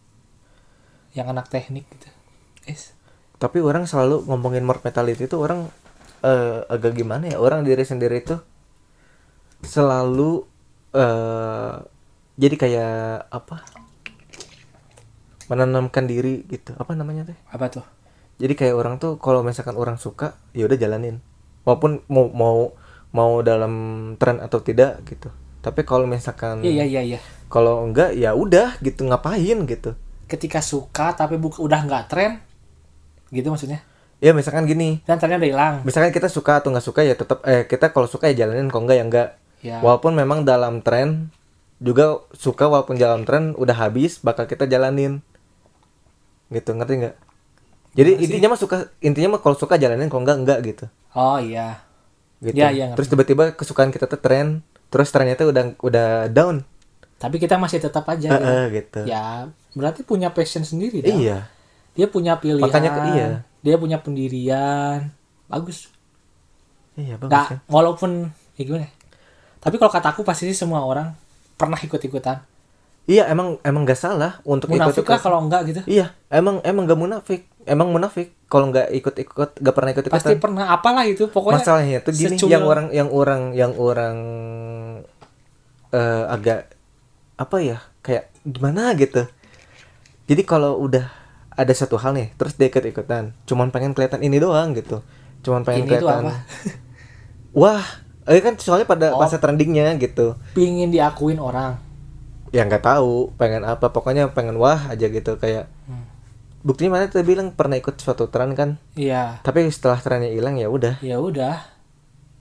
Yang anak teknik gitu. Is.
tapi orang selalu ngomongin mob mentality itu orang eh, agak gimana ya orang diri sendiri itu selalu eh jadi kayak apa menanamkan diri gitu apa namanya teh
Apa tuh?
jadi kayak orang tuh kalau misalkan orang suka ya udah jalanin walaupun mau mau mau dalam tren atau tidak gitu tapi kalau misalkan
Iya iya iya iya.
kalau enggak ya udah gitu ngapain gitu
Ketika suka tapi buka, udah nggak tren gitu maksudnya.
ya misalkan gini
Dan trennya udah hilang.
misalkan kita suka atau nggak suka ya tetap eh kita kalau suka ya jalanin kalau nggak ya nggak
Ya.
walaupun memang dalam tren juga suka walaupun dalam tren udah habis bakal kita jalanin gitu ngerti nggak jadi intinya mah suka intinya mah kalau suka jalanin kalau nggak nggak gitu
Oh iya.
gitu
Ya, ya, ngerti.
terus tiba-tiba kesukaan kita tuh tren terus trennya tuh udah udah down
Tapi kita masih tetap aja
Eh,
ya.
eh, gitu
ya berarti punya passion sendiri dah.
iya
dia punya pilihan
Makanya ke- iya.
dia punya pendirian bagus
iya bagus kan
nggak walaupun ya gimana ya? tapi kalau kataku pasti sih semua orang pernah ikut ikutan
iya emang emang nggak salah untuk
munafik
ikut-ikut.
lah kalau enggak gitu
Iya, emang emang gak munafik. Emang munafik kalau nggak ikut-ikut, gak pernah ikut-ikutan.
pasti pernah apalah itu pokoknya
Masalahnya tuh gini,
secul-
yang orang yang orang yang orang eh, agak apa ya? Kayak gimana gitu. Jadi kalau udah ada satu hal nih, terus dia ikut-ikutan, cuman pengen kelihatan ini doang gitu. Cuman pengen
Ini tuh
kelihatan.
apa?
Wah, eh kan soalnya pada
Oh.
masa trendingnya gitu.
pingin diakuin orang
Ya nggak tahu pengen apa, pokoknya pengen wah aja gitu kayak.
Hmm.
Buktinya mana tadi bilang pernah ikut suatu tren kan?
iya
tapi setelah trennya hilang ya udah
ya udah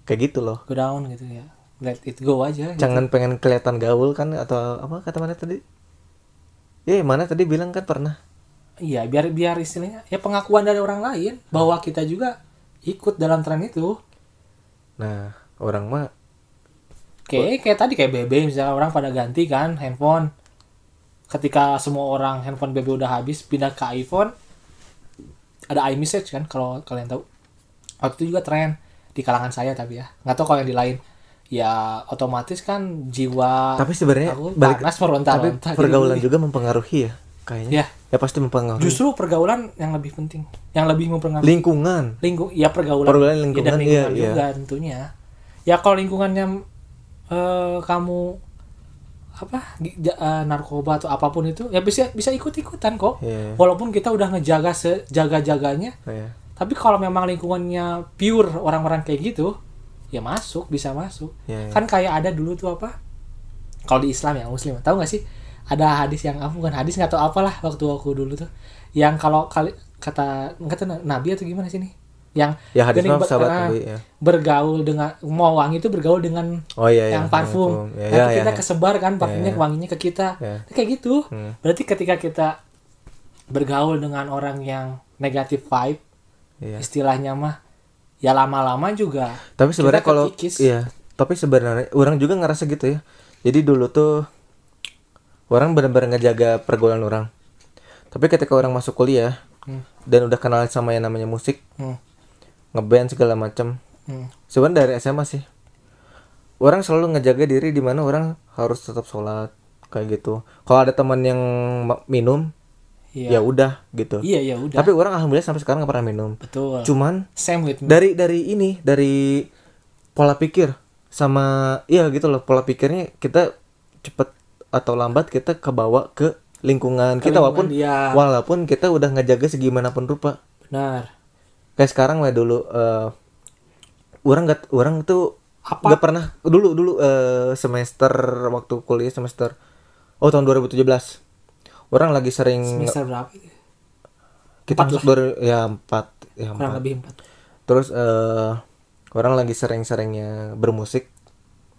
kayak gitu loh
go down gitu ya let it go aja gitu.
jangan pengen kelihatan gaul kan atau apa kata mana tadi ya mana tadi bilang kan pernah
iya biar biar istilahnya ya pengakuan dari orang lain bahwa kita juga ikut dalam tren itu
nah orang mah
Kayak eh, kayak tadi kayak BB misalnya orang pada ganti kan handphone. Ketika semua orang handphone BB udah habis pindah ke iPhone ada iMessage kan kalau kalian tahu. Waktu itu juga tren di kalangan saya tapi ya. nggak tahu kalau yang di lain ya otomatis kan jiwa
tapi sebenarnya
aku
balik
panas meronta-ronta
tapi
jadi
pergaulan
lebih-
juga mempengaruhi ya kayaknya
Ya.
ya pasti mempengaruhi
justru pergaulan yang lebih penting yang lebih mempengaruhi
lingkungan
lingkung ya pergaulan,
Pergaulan,
Ya,
lingkungan,
dan lingkungan
iya,
juga tentunya ya kalau lingkungannya eh, kamu apa gi- ja- eh, narkoba atau apapun itu ya bisa bisa ikut ikutan kok
Iya.
walaupun kita udah ngejaga sejaga jaganya
ya
tapi kalau memang lingkungannya pure orang-orang kayak gitu ya masuk bisa masuk
Iya, iya.
kan kayak ada dulu tuh apa kalau di Islam ya Muslim ah, tahu nggak sih ada hadis yang apa bukan hadis nggak tahu apalah waktu aku dulu tuh yang kalau kali kata nggak tahu nabi atau gimana sih nih yang
ya hadis
Jadi
mah
ber-
sahabat
ah,
nabi ya
bergaul dengan mau wangi itu bergaul dengan
oh iya iya
yang parfum.
ya
Nanti
ya ya,
kita
ya.
kesebar kan parfumnya wanginya ke kita.
Ya.
Kayak gitu.
Hmm.
Berarti ketika kita bergaul dengan orang yang negatif vibe,
Iya.
istilahnya mah ya lama-lama juga
tapi sebenarnya
kita
kalau
ketikis.
iya tapi sebenarnya orang juga ngerasa gitu ya jadi dulu tuh orang benar-benar ngejaga pergaulan orang tapi ketika orang masuk kuliah
Hmm.
dan udah kenal sama yang namanya musik
hmm,
ngeband segala macam
hmm,
sebenarnya dari SMA sih orang selalu ngejaga diri di mana orang harus tetap sholat kayak gitu kalau ada teman yang ma- minum ya
iya.
udah gitu
Iya, ya udah.
tapi orang alhamdulillah sampai sekarang gak pernah minum
Betul.
cuman
Same with me.
dari dari ini dari pola pikir sama iya gitu loh pola pikirnya kita cepet atau lambat kita kebawa ke lingkungan kita walaupun
dia.
walaupun kita udah ngejaga segimanapun rupa
Benar.
kayak sekarang lah dulu eh orang nggak orang tuh
Apa?
nggak pernah dulu dulu eh, semester waktu kuliah semester oh tahun 2017 orang lagi sering
Semester berapa?
kita masuk dari- ya empat ya
Kurang
empat
lebih empat.
terus eh orang lagi sering-seringnya bermusik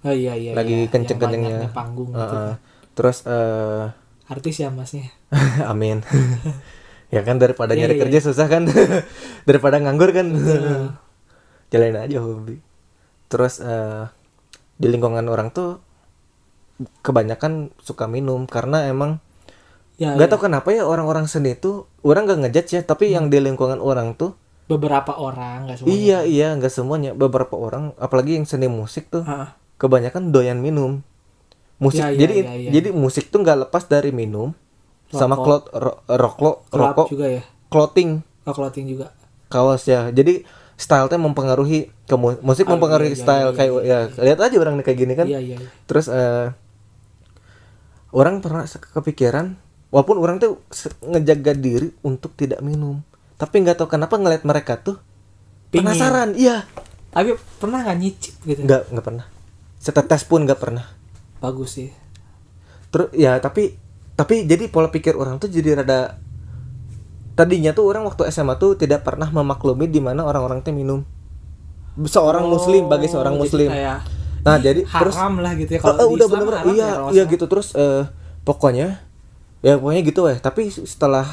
Oh iya iya.
Lagi
iya. Yang
kenceng-kencengnya.
banyaknya panggung
Eh,
gitu.
eh. terus eh
Artis ya masnya.
amin ya kan daripada
Iya,
nyari
iya,
kerja susah kan daripada nganggur kan jalanin aja hobi terus eh di lingkungan orang tuh kebanyakan suka minum karena emang
Ya,
nggak
ya.
tau kenapa ya orang-orang seni tuh orang nggak ngejudge ya tapi
Hmm.
yang di lingkungan orang tuh
beberapa orang nggak semua.
iya iya nggak semuanya beberapa orang apalagi yang seni musik tuh
Ah,
kebanyakan doyan minum musik
Ya, ya,
jadi
ya, ya.
jadi musik tuh nggak lepas dari minum sama
Rokok.
klot ro- rokok
Club
rokok
juga ya.
clothing
Oh, clothing juga.
kaos ya jadi style tuh mempengaruhi ke mu- musik
Ah,
mempengaruhi
iya, iya,
style
iya,
kayak ya lihat aja orang kayak gini kan
Iya iya. iya.
terus eh, orang pernah se- kepikiran walaupun orang tuh se- ngejaga diri untuk tidak minum tapi nggak tahu kenapa ngeliat mereka tuh
Pingin.
penasaran iya
Tapi pernah nggak nyicip gitu?
nggak nggak pernah setetes pun nggak pernah
Bagus sih.
terus ya tapi tapi jadi pola pikir orang tuh jadi rada tadinya tuh orang waktu SMA tuh tidak pernah memaklumi di mana orang-orang tuh minum seorang muslim bagi seorang
Oh, jadi
muslim
kayak,
nah jadi
haram
terus
lah gitu ya kalau
Eh, eh,
di
udah
Islam
bener iya
haram ya, kalau
iya
salah.
gitu terus eh, pokoknya ya pokoknya gitu eh tapi setelah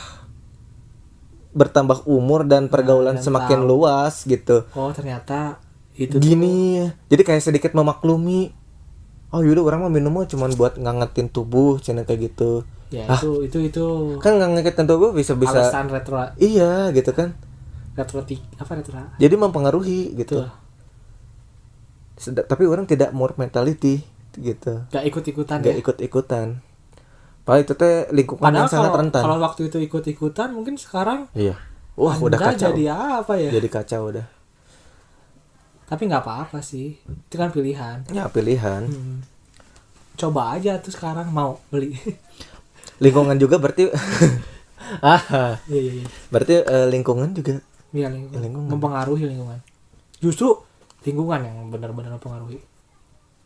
bertambah umur dan pergaulan
Nah, dan
semakin
tahu.
luas gitu
Oh ternyata itu tuh
gini jadi kayak sedikit memaklumi oh yaudah orang mah minumnya cuman buat ngangetin tubuh cina kayak gitu
ya
Ah.
itu itu itu
kan ngangetin tubuh bisa bisa
alasan retro
iya gitu kan
retro ti- apa retro
jadi mempengaruhi
itu
gitu Sedap- tapi orang tidak more mentality gitu
gak ikut ikutan
nggak
ya
ikut ikutan padahal itu teh lingkungan
padahal
yang sangat
kalau
rentan
kalau waktu itu ikut ikutan mungkin sekarang
iya wah udah
Anda
kacau
jadi apa ya
jadi kacau udah
tapi nggak apa apa sih itu kan pilihan
ya pilihan
Hmm. coba aja tuh sekarang mau beli
lingkungan juga berarti ah
Iya, iya, iya.
berarti eh, lingkungan juga
Iya, lingkungan.
lingkungan.
mempengaruhi lingkungan justru lingkungan yang benar-benar mempengaruhi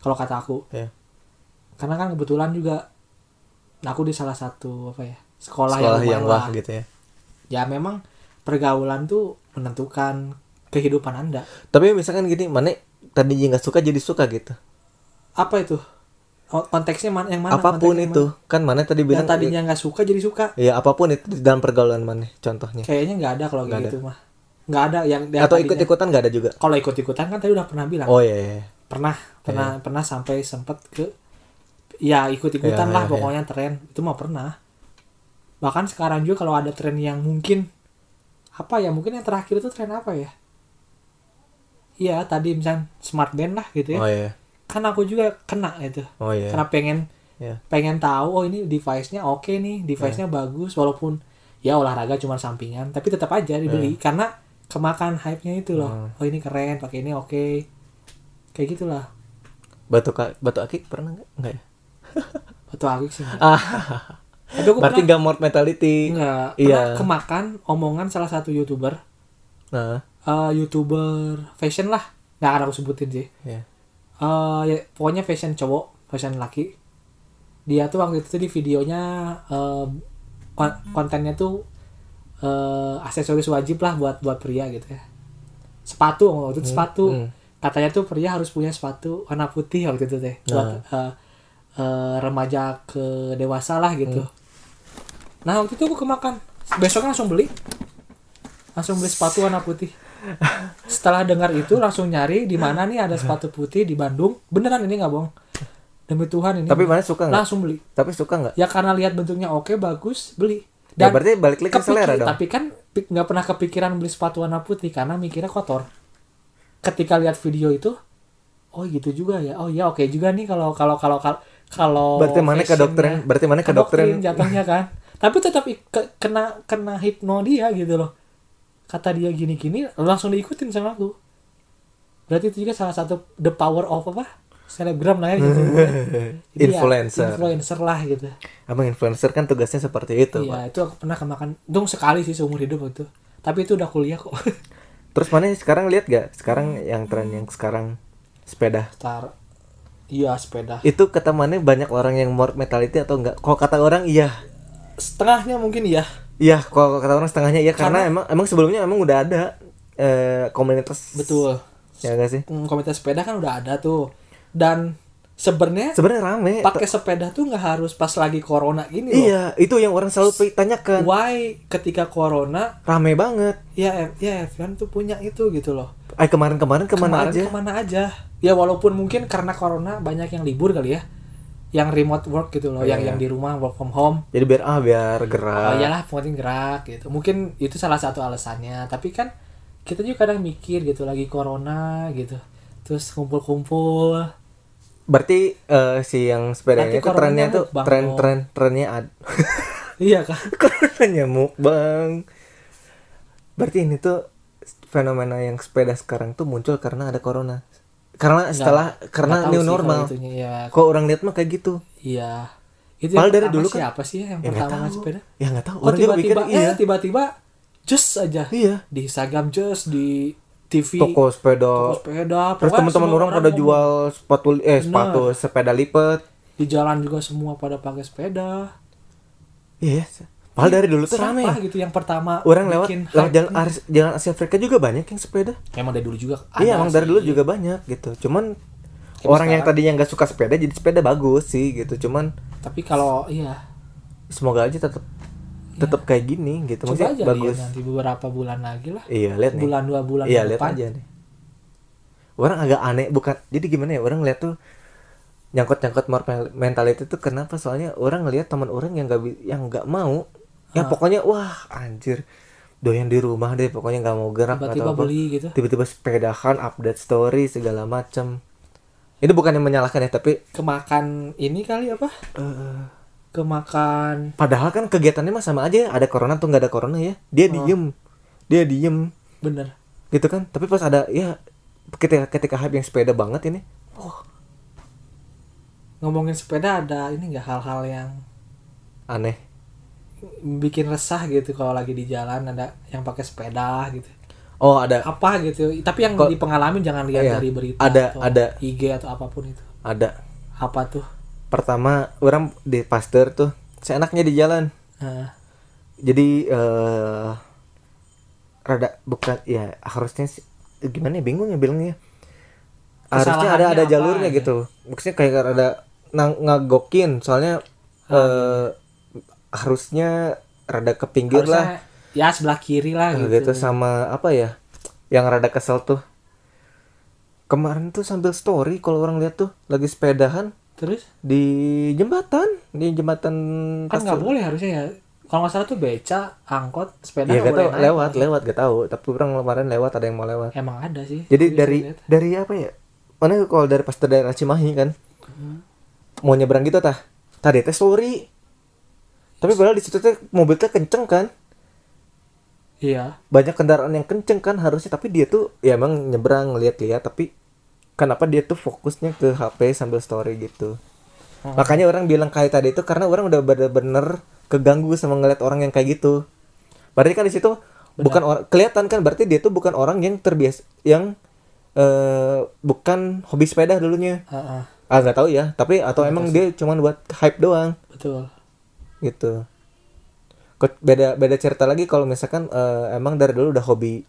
kalau kata aku
ya
karena kan kebetulan juga aku di salah satu apa ya sekolah,
sekolah yang
yang, lumayan
wah
lah.
gitu ya
ya memang pergaulan tuh menentukan kehidupan anda
tapi misalkan gini mana tadinya nggak suka jadi suka gitu
apa itu Oh, konteksnya mana yang mana
apapun
konteksnya
itu kan mana tadi
mana? yang
bilang
tadinya nggak suka jadi suka
ya apapun itu di dalam pergaulan mana contohnya
kayaknya nggak ada
Iya.
kalau
Nggak
kayak gitu mah nggak ada yang yang
atau
tadinya-
ikut-ikutan nggak ada juga
kalau ikut-ikutan kan tadi udah pernah bilang
oh iya, iya.
pernah pernah pernah sampai sempet ke ya
Iya,
ikut-ikutan lah
iya,
pokoknya tren itu mah pernah bahkan sekarang juga kalau ada tren yang mungkin apa ya mungkin yang terakhir itu tren apa ya Iya tadi misalnya smart band lah gitu ya
oh iya
kan aku juga kena itu
oh iya
karena pengen
Iya.
pengen tahu oh ini device-nya oke nih device-nya bagus walaupun ya olahraga cuma sampingan tapi tetap aja
Iya.
dibeli karena kemakan hype-nya itu
Hmm.
loh oh ini keren pakai ini oke kayak gitulah
batu ka- batu akik pernah nggak nggak ya
batu akik sih enggak.
ah
tapi aku
berarti
pernah
nggak more mentality
enggak
Iya.
pernah kemakan omongan salah satu youtuber
nah
eh, youtuber fashion lah nggak akan aku sebutin sih
ya
Eh, ya, pokoknya fashion cowok fashion laki dia tuh waktu itu di videonya eh, kon- kontennya tuh eh, aksesoris wajib lah buat buat pria gitu ya sepatu waktu itu sepatu
hmm.
katanya tuh pria harus punya sepatu warna putih waktu itu
Nah.
teh buat eh, eh, remaja ke dewasa lah gitu
Hmm.
nah waktu itu aku kemakan besoknya kan langsung beli langsung beli sepatu warna putih setelah dengar itu langsung nyari di mana nih ada sepatu putih di Bandung beneran ini nggak bohong demi Tuhan ini
Tapi mana suka nggak?
langsung beli
Tapi suka nggak?
ya karena lihat bentuknya oke bagus beli
Ya, berarti balik lagi ke
kepikir-
selera dong.
tapi kan pi- nggak pernah kepikiran beli sepatu warna putih karena mikirnya kotor ketika lihat video itu oh gitu juga ya oh ya oke juga nih kalau kalau kalau kalau- kalau
Berarti mana ke
fashionnya-
dokterin? Berarti mana ke dokterin?
dokterin jatuhnya kan tapi tetap i- ke- kena kena hipno dia gitu loh kata dia gini-gini langsung diikutin sama aku berarti itu juga salah satu the power of apa selebgram lah ya gitu Jadi ya,
Influencer.
influencer lah gitu
Abang influencer kan tugasnya seperti itu, Pak.
Iya, itu aku pernah kemakan. Untung sekali sih seumur hidup waktu itu. Tapi itu udah kuliah kok.
Terus mana sekarang lihat gak? Sekarang yang tren yang sekarang sepeda.
Tar. Iya, sepeda.
Itu kata mana banyak orang yang more mentality atau enggak? Kalau kata orang iya.
Setengahnya mungkin ya.
Iya, kalau kata orang setengahnya iya karena, emang emang sebelumnya emang udah ada eh, komunitas
Betul.
ya gak sih?
Hmm, Komunitas sepeda kan udah ada tuh. Dan sebenarnya
Sebenarnya rame.
pakai sepeda tuh nggak harus pas lagi corona ini loh.
Iya, itu yang orang selalu tanyakan.
Why ketika corona
Rame banget.
ya F- ya Evian tuh punya itu gitu loh.
Eh kemarin-kemarin kemana
Kemarin
aja?
kemana aja? Ya walaupun mungkin karena corona banyak yang libur kali ya. Yang remote work
Iya,
gitu loh, yang yang di rumah work from home.
Jadi biar ah biar gerak.
Oh iyalah penting gerak gitu. Mungkin itu salah satu alasannya. Tapi kan kita juga kadang mikir gitu lagi corona gitu. Terus kumpul-kumpul.
Berarti eh, si yang sepedanya
Berarti
itu
corona
trennya tuh
nyamuk, Bang.
tren tren trennya ad
Iya kan?
corona nyamuk bang. Berarti ini tuh fenomena yang sepeda sekarang tuh muncul karena ada corona. Karena setelah karena
Nggak tahu
new
sih
normal.
kalau itunya. Iya.
Kok orang lihat mah kayak gitu?
Iya. Itu
Padahal
yang
dari
pertama
dulu kan-
siapa sih yang
Ya nggak
pertama
tahu.
main sepeda?
Ya nggak tahu.
Kok
Orang juga mikir
tiba-tiba
iya.
eh tiba-tiba just aja.
Iya.
Di Instagram just di TV
Toko sepeda.
toko sepeda.
Terus
Pokoknya
teman-teman
semua
orang pada
ngomong.
jual sepatu eh sepatu sepeda lipat.
di jalan juga semua pada pakai sepeda.
Iya. Padahal dari dulu tuh
Siapa
rame.
gitu yang pertama
Orang lewat
bikin
lewat
hype
jalan Ars- jalan Asia Afrika juga banyak yang sepeda.
Emang dari dulu juga
Iya,
ada
emang dari
sih.
dulu juga banyak gitu. Cuman orang yang tadinya nggak suka sepeda jadi sepeda bagus sih gitu. Cuman
Tapi kalau iya
semoga aja tetap tetap kayak gini gitu.
coba
Maksudnya
aja
bagus.
lihat nanti beberapa bulan lagi lah.
Iya, lihat nih.
Bulan dua bulan
Iya,
ke
lihat
depan.
aja nih. Orang agak aneh bukan. Jadi gimana ya? Orang lihat tuh nyangkut-nyangkut more men- mentality itu kenapa? Soalnya orang ngelihat teman orang yang nggak bi- yang nggak mau ya
Ah.
pokoknya wah anjir doyan di rumah deh pokoknya nggak mau gerak
Tiba-tiba
atau apa.
beli gitu.
tiba-tiba sepedahan update story segala macem itu bukan yang menyalahkan ya tapi
Kemakan ini kali apa?
eh,
Kemakan
padahal kan kegiatannya mah sama aja ada corona tuh nggak ada corona ya dia diem dia diem
bener.
gitu kan tapi pas ada ya ketika ketika hype yang sepeda banget ini
Ngomongin sepeda ada ini nggak hal-hal yang
aneh
bikin resah gitu kalau lagi di jalan ada yang pakai sepeda gitu.
oh ada
Apa gitu. Tapi yang
Kok-
di pengalaman jangan lihat
Iya.
dari berita
Ada-
atau
ada.
IG atau apapun itu.
ada
Apa tuh?
pertama orang di pasteur tuh seenaknya di jalan
Nah,
jadi eh rada bukan ya harusnya sih- gimana ya bingung ya bilangnya harusnya ada ada
Kesalahannya apa ya?
jalurnya
aja?
gitu maksudnya kayak ada nang ngagokin soalnya
iya.
eh harusnya rada ke pinggir lah
harusnya ya sebelah kiri lah
gitu.
gitu.
sama apa ya yang rada kesel tuh kemarin tuh sambil story kalau orang lihat tuh lagi sepedahan
Terus
di jembatan di jembatan
kan
Pasteur.
nggak boleh harusnya ya kalau nggak salah tuh beca angkot sepeda
Iya
nggak
gak
boleh
tau
naik.
lewat lewat gak tahu tapi orang kemarin lewat ada yang mau lewat.
emang ada sih
Jadi
Tapi
dari
saya lihat.
dari apa ya? Mana kalau dari pas daerah Cimahi kan
Hmm.
mau nyebrang gitu tah? Tadi teh sorry. Tapi padahal di situ teh mobil teh kenceng kan?
iya
Banyak kendaraan yang kenceng kan harusnya tapi dia tuh ya emang nyebrang lihat-lihat tapi kenapa dia tuh fokusnya ke HP sambil story gitu. Makanya orang bilang kayak tadi itu karena orang udah bener-bener keganggu sama ngeliat orang yang kayak gitu. Berarti kan di situ bukan orang kelihatan kan berarti dia tuh bukan orang yang terbiasa yang eh bukan hobi sepeda dulunya.
Heeh,
Ah nggak tahu ya, tapi atau emang dia cuman buat hype doang
betul
gitu. Ke- beda beda cerita lagi kalau misalkan eh, emang dari dulu udah hobi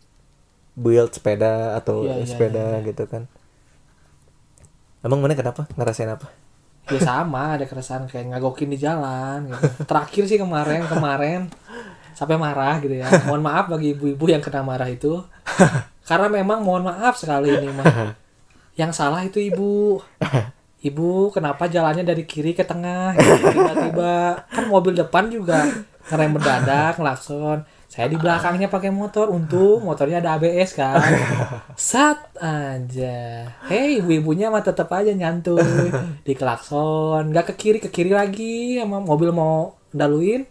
build sepeda atau
Iya, iya,
sepeda gitu kan emang mana kenapa ngerasain apa
ya sama ada keresahan kayak ngagokin di jalan gitu. terakhir sih kemarin kemarin sampai marah gitu ya mohon maaf bagi ibu-ibu yang kena marah itu karena memang mohon maaf sekali ini mah yang salah itu ibu ibu kenapa jalannya dari kiri ke tengah gitu, tiba-tiba kan mobil depan juga ngerem mendadak ngelakson saya di belakangnya pakai motor untung motornya ada ABS kan sat aja hei ibu-ibunya mah tetap aja nyantuy di klakson nggak ke kiri ke kiri lagi sama mobil mau daluin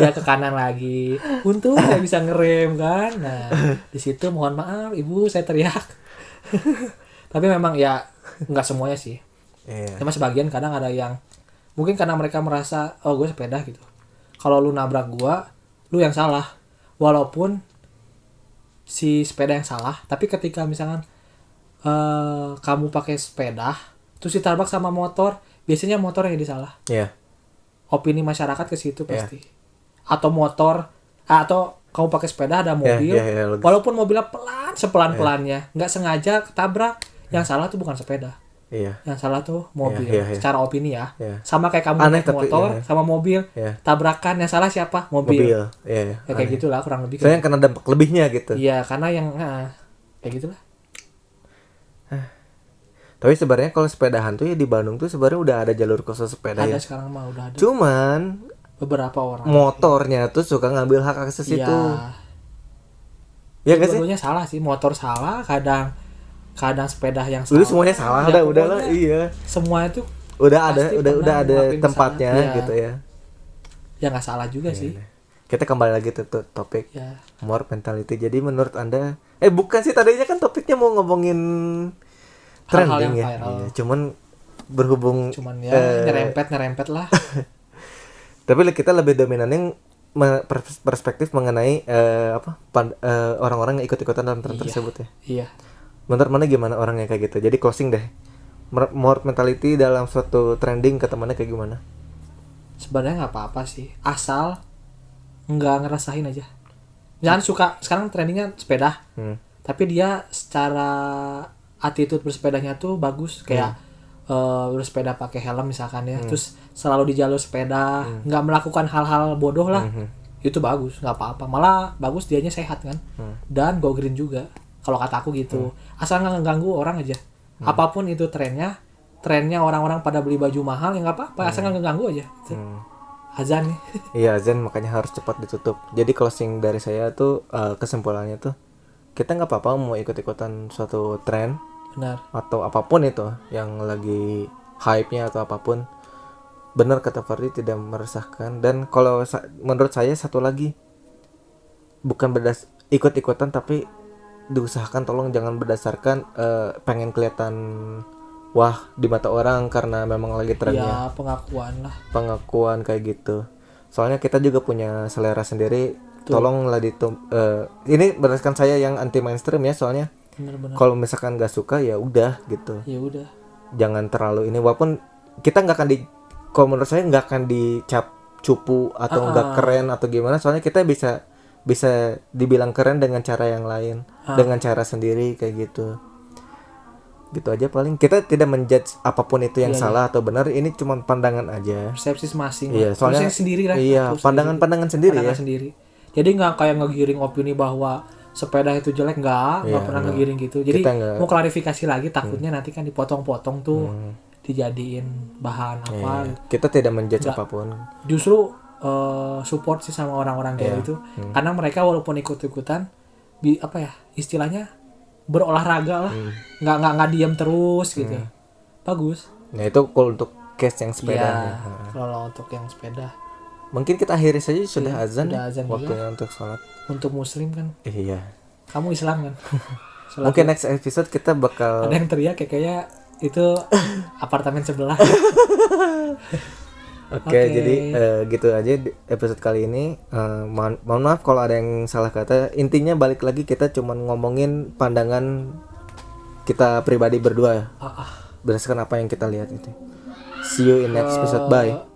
ya ke kanan lagi untung saya bisa ngerem kan nah di situ mohon maaf ibu saya teriak tapi memang ya nggak semuanya sih
Iya.
cuma sebagian kadang ada yang mungkin karena mereka merasa oh gue sepeda gitu kalau lu nabrak gua lu yang salah walaupun si sepeda yang salah tapi ketika misalkan eh kamu pakai sepeda terus ditabrak sama motor biasanya motor yang jadi salah
Iya.
opini masyarakat ke situ
Iya.
pasti atau motor ah, atau kamu pakai sepeda ada mobil
iya, iya, logis.
walaupun mobilnya pelan sepelan pelannya nggak sengaja ketabrak yang salah tuh bukan sepeda
Iya.
yang salah tuh mobil
Iya, iya, iya.
secara opini ya
Iya.
sama kayak kamu
Aneh
naik
tapi,
motor
iya.
sama mobil
Iya.
tabrakan yang salah siapa mobil,
Mobil. Iya. iya.
Ya, kayak
Aneh.
gitulah kurang lebih
Soalnya yang kena dampak lebihnya gitu.
iya karena yang ah, kayak gitulah
Tapi sebenarnya kalau sepedahan tuh ya di Bandung tuh sebenarnya udah ada jalur khusus sepeda ya.
ada sekarang mah udah ada
Cuman
beberapa orang
motornya tuh suka ngambil hak akses
Iya.
itu. Ya gak sih?
Dua-duanya salah sih motor salah kadang kadang sepeda yang salah
Udah semuanya salah
Ya,
dah, udah lah.
pokoknya
Iya.
semua itu
Udah ada
Pasti
udah
pernah
udah ada
ngelakuin
tempatnya
kesalahan. Iya.
gitu ya.
ya nggak salah juga sih
Kita kembali lagi tuh, tuh topik
ya
more mentality. Jadi menurut Anda eh bukan sih tadinya kan topiknya mau ngomongin
Hal-hal
trending
yang
ya.
viral.
Iya, Cuman berhubung
cuman ya
eh,
nyerempet nyerempet lah
tapi kita lebih dominannya me- pers- perspektif mengenai eh, apa pan- eh, orang-orang yang ikut-ikutan dalam tren
Iya.
tersebut ya
iya
menurut mana gimana orangnya kayak gitu jadi closing deh Mer- more mentality dalam suatu trending ke temannya kayak gimana
sebenarnya nggak apa-apa sih asal nggak ngerasain aja jangan suka sekarang trendingnya sepeda
Hmm.
tapi dia secara attitude bersepedanya tuh bagus kayak eh, bersepeda pakai helm misalkan ya terus selalu di jalur sepeda nggak melakukan hal-hal bodoh lah itu bagus nggak apa-apa malah bagus dianya sehat kan dan go green juga kalau kata aku gitu asal nggak ngeganggu orang aja apapun itu trennya trennya orang-orang pada beli baju mahal ya nggak apa-apa asal nggak ngeganggu aja Itu.
Hmm.
azan ya. nih
Iya Zen makanya harus cepat ditutup. Jadi closing dari saya tuh eh, kesimpulannya tuh kita nggak apa-apa mau ikut-ikutan suatu tren
benar
atau apapun itu yang lagi hype-nya atau apapun benar kata Fardi tidak meresahkan dan kalau sa- menurut saya satu lagi bukan berdas ikut-ikutan tapi diusahakan tolong jangan berdasarkan eh, pengen kelihatan wah di mata orang karena memang lagi trennya
ya pengakuan lah
pengakuan kayak gitu. Soalnya kita juga punya selera sendiri. Tolonglah ditum eh, ini berdasarkan saya yang anti mainstream ya soalnya
benar-benar
kalau misalkan nggak suka ya udah gitu.
ya udah
Jangan terlalu ini walaupun kita nggak akan di kalau menurut saya nggak akan dicap cupu atau nggak keren atau gimana soalnya kita bisa bisa dibilang keren dengan cara yang lain, dengan cara sendiri kayak gitu. Gitu aja paling kita tidak menjudge apapun itu yang salah atau benar, ini cuma pandangan aja.
persepsi masing
Iya, soalnya-
Terus yang sendiri lah
Iya,
Terus
pandangan-pandangan sendiri
pandangan
ya.
sendiri jadi nggak kayak ngegiring opini bahwa sepeda itu jelek nggak nggak
Iya,
pernah
nggak.
ngegiring gitu jadi
Kita nggak- Hmm.
mau klarifikasi lagi takutnya nanti kan dipotong-potong tuh dijadiin bahan apa
Iya, Kita tidak menjudge apapun.
justru eh, support sih sama orang-orang gay itu karena mereka walaupun ikut-ikutan bi apa ya istilahnya berolahraga lah nggak nggak nggak diam terus gitu bagus
Nah itu kalau untuk case yang sepeda.
Iya, kalau untuk yang sepeda
Mungkin kita akhiri saja sudah azan, ya,
Iya, sudah azan
waktunya untuk sholat.
untuk muslim kan
Iya.
kamu Islam kan Sholat
Mungkin next episode kita bakal
ada yang teriak kayak kayaknya itu apartemen sebelah
Oke,
Oke.
jadi eh, gitu aja di episode kali ini. Eh, mohon, mohon maaf kalau ada yang salah kata. Intinya balik lagi kita cuman ngomongin pandangan kita pribadi berdua
Ah, ah. Eh,
berdasarkan apa yang kita lihat itu. See you gitu. in next episode. Bye.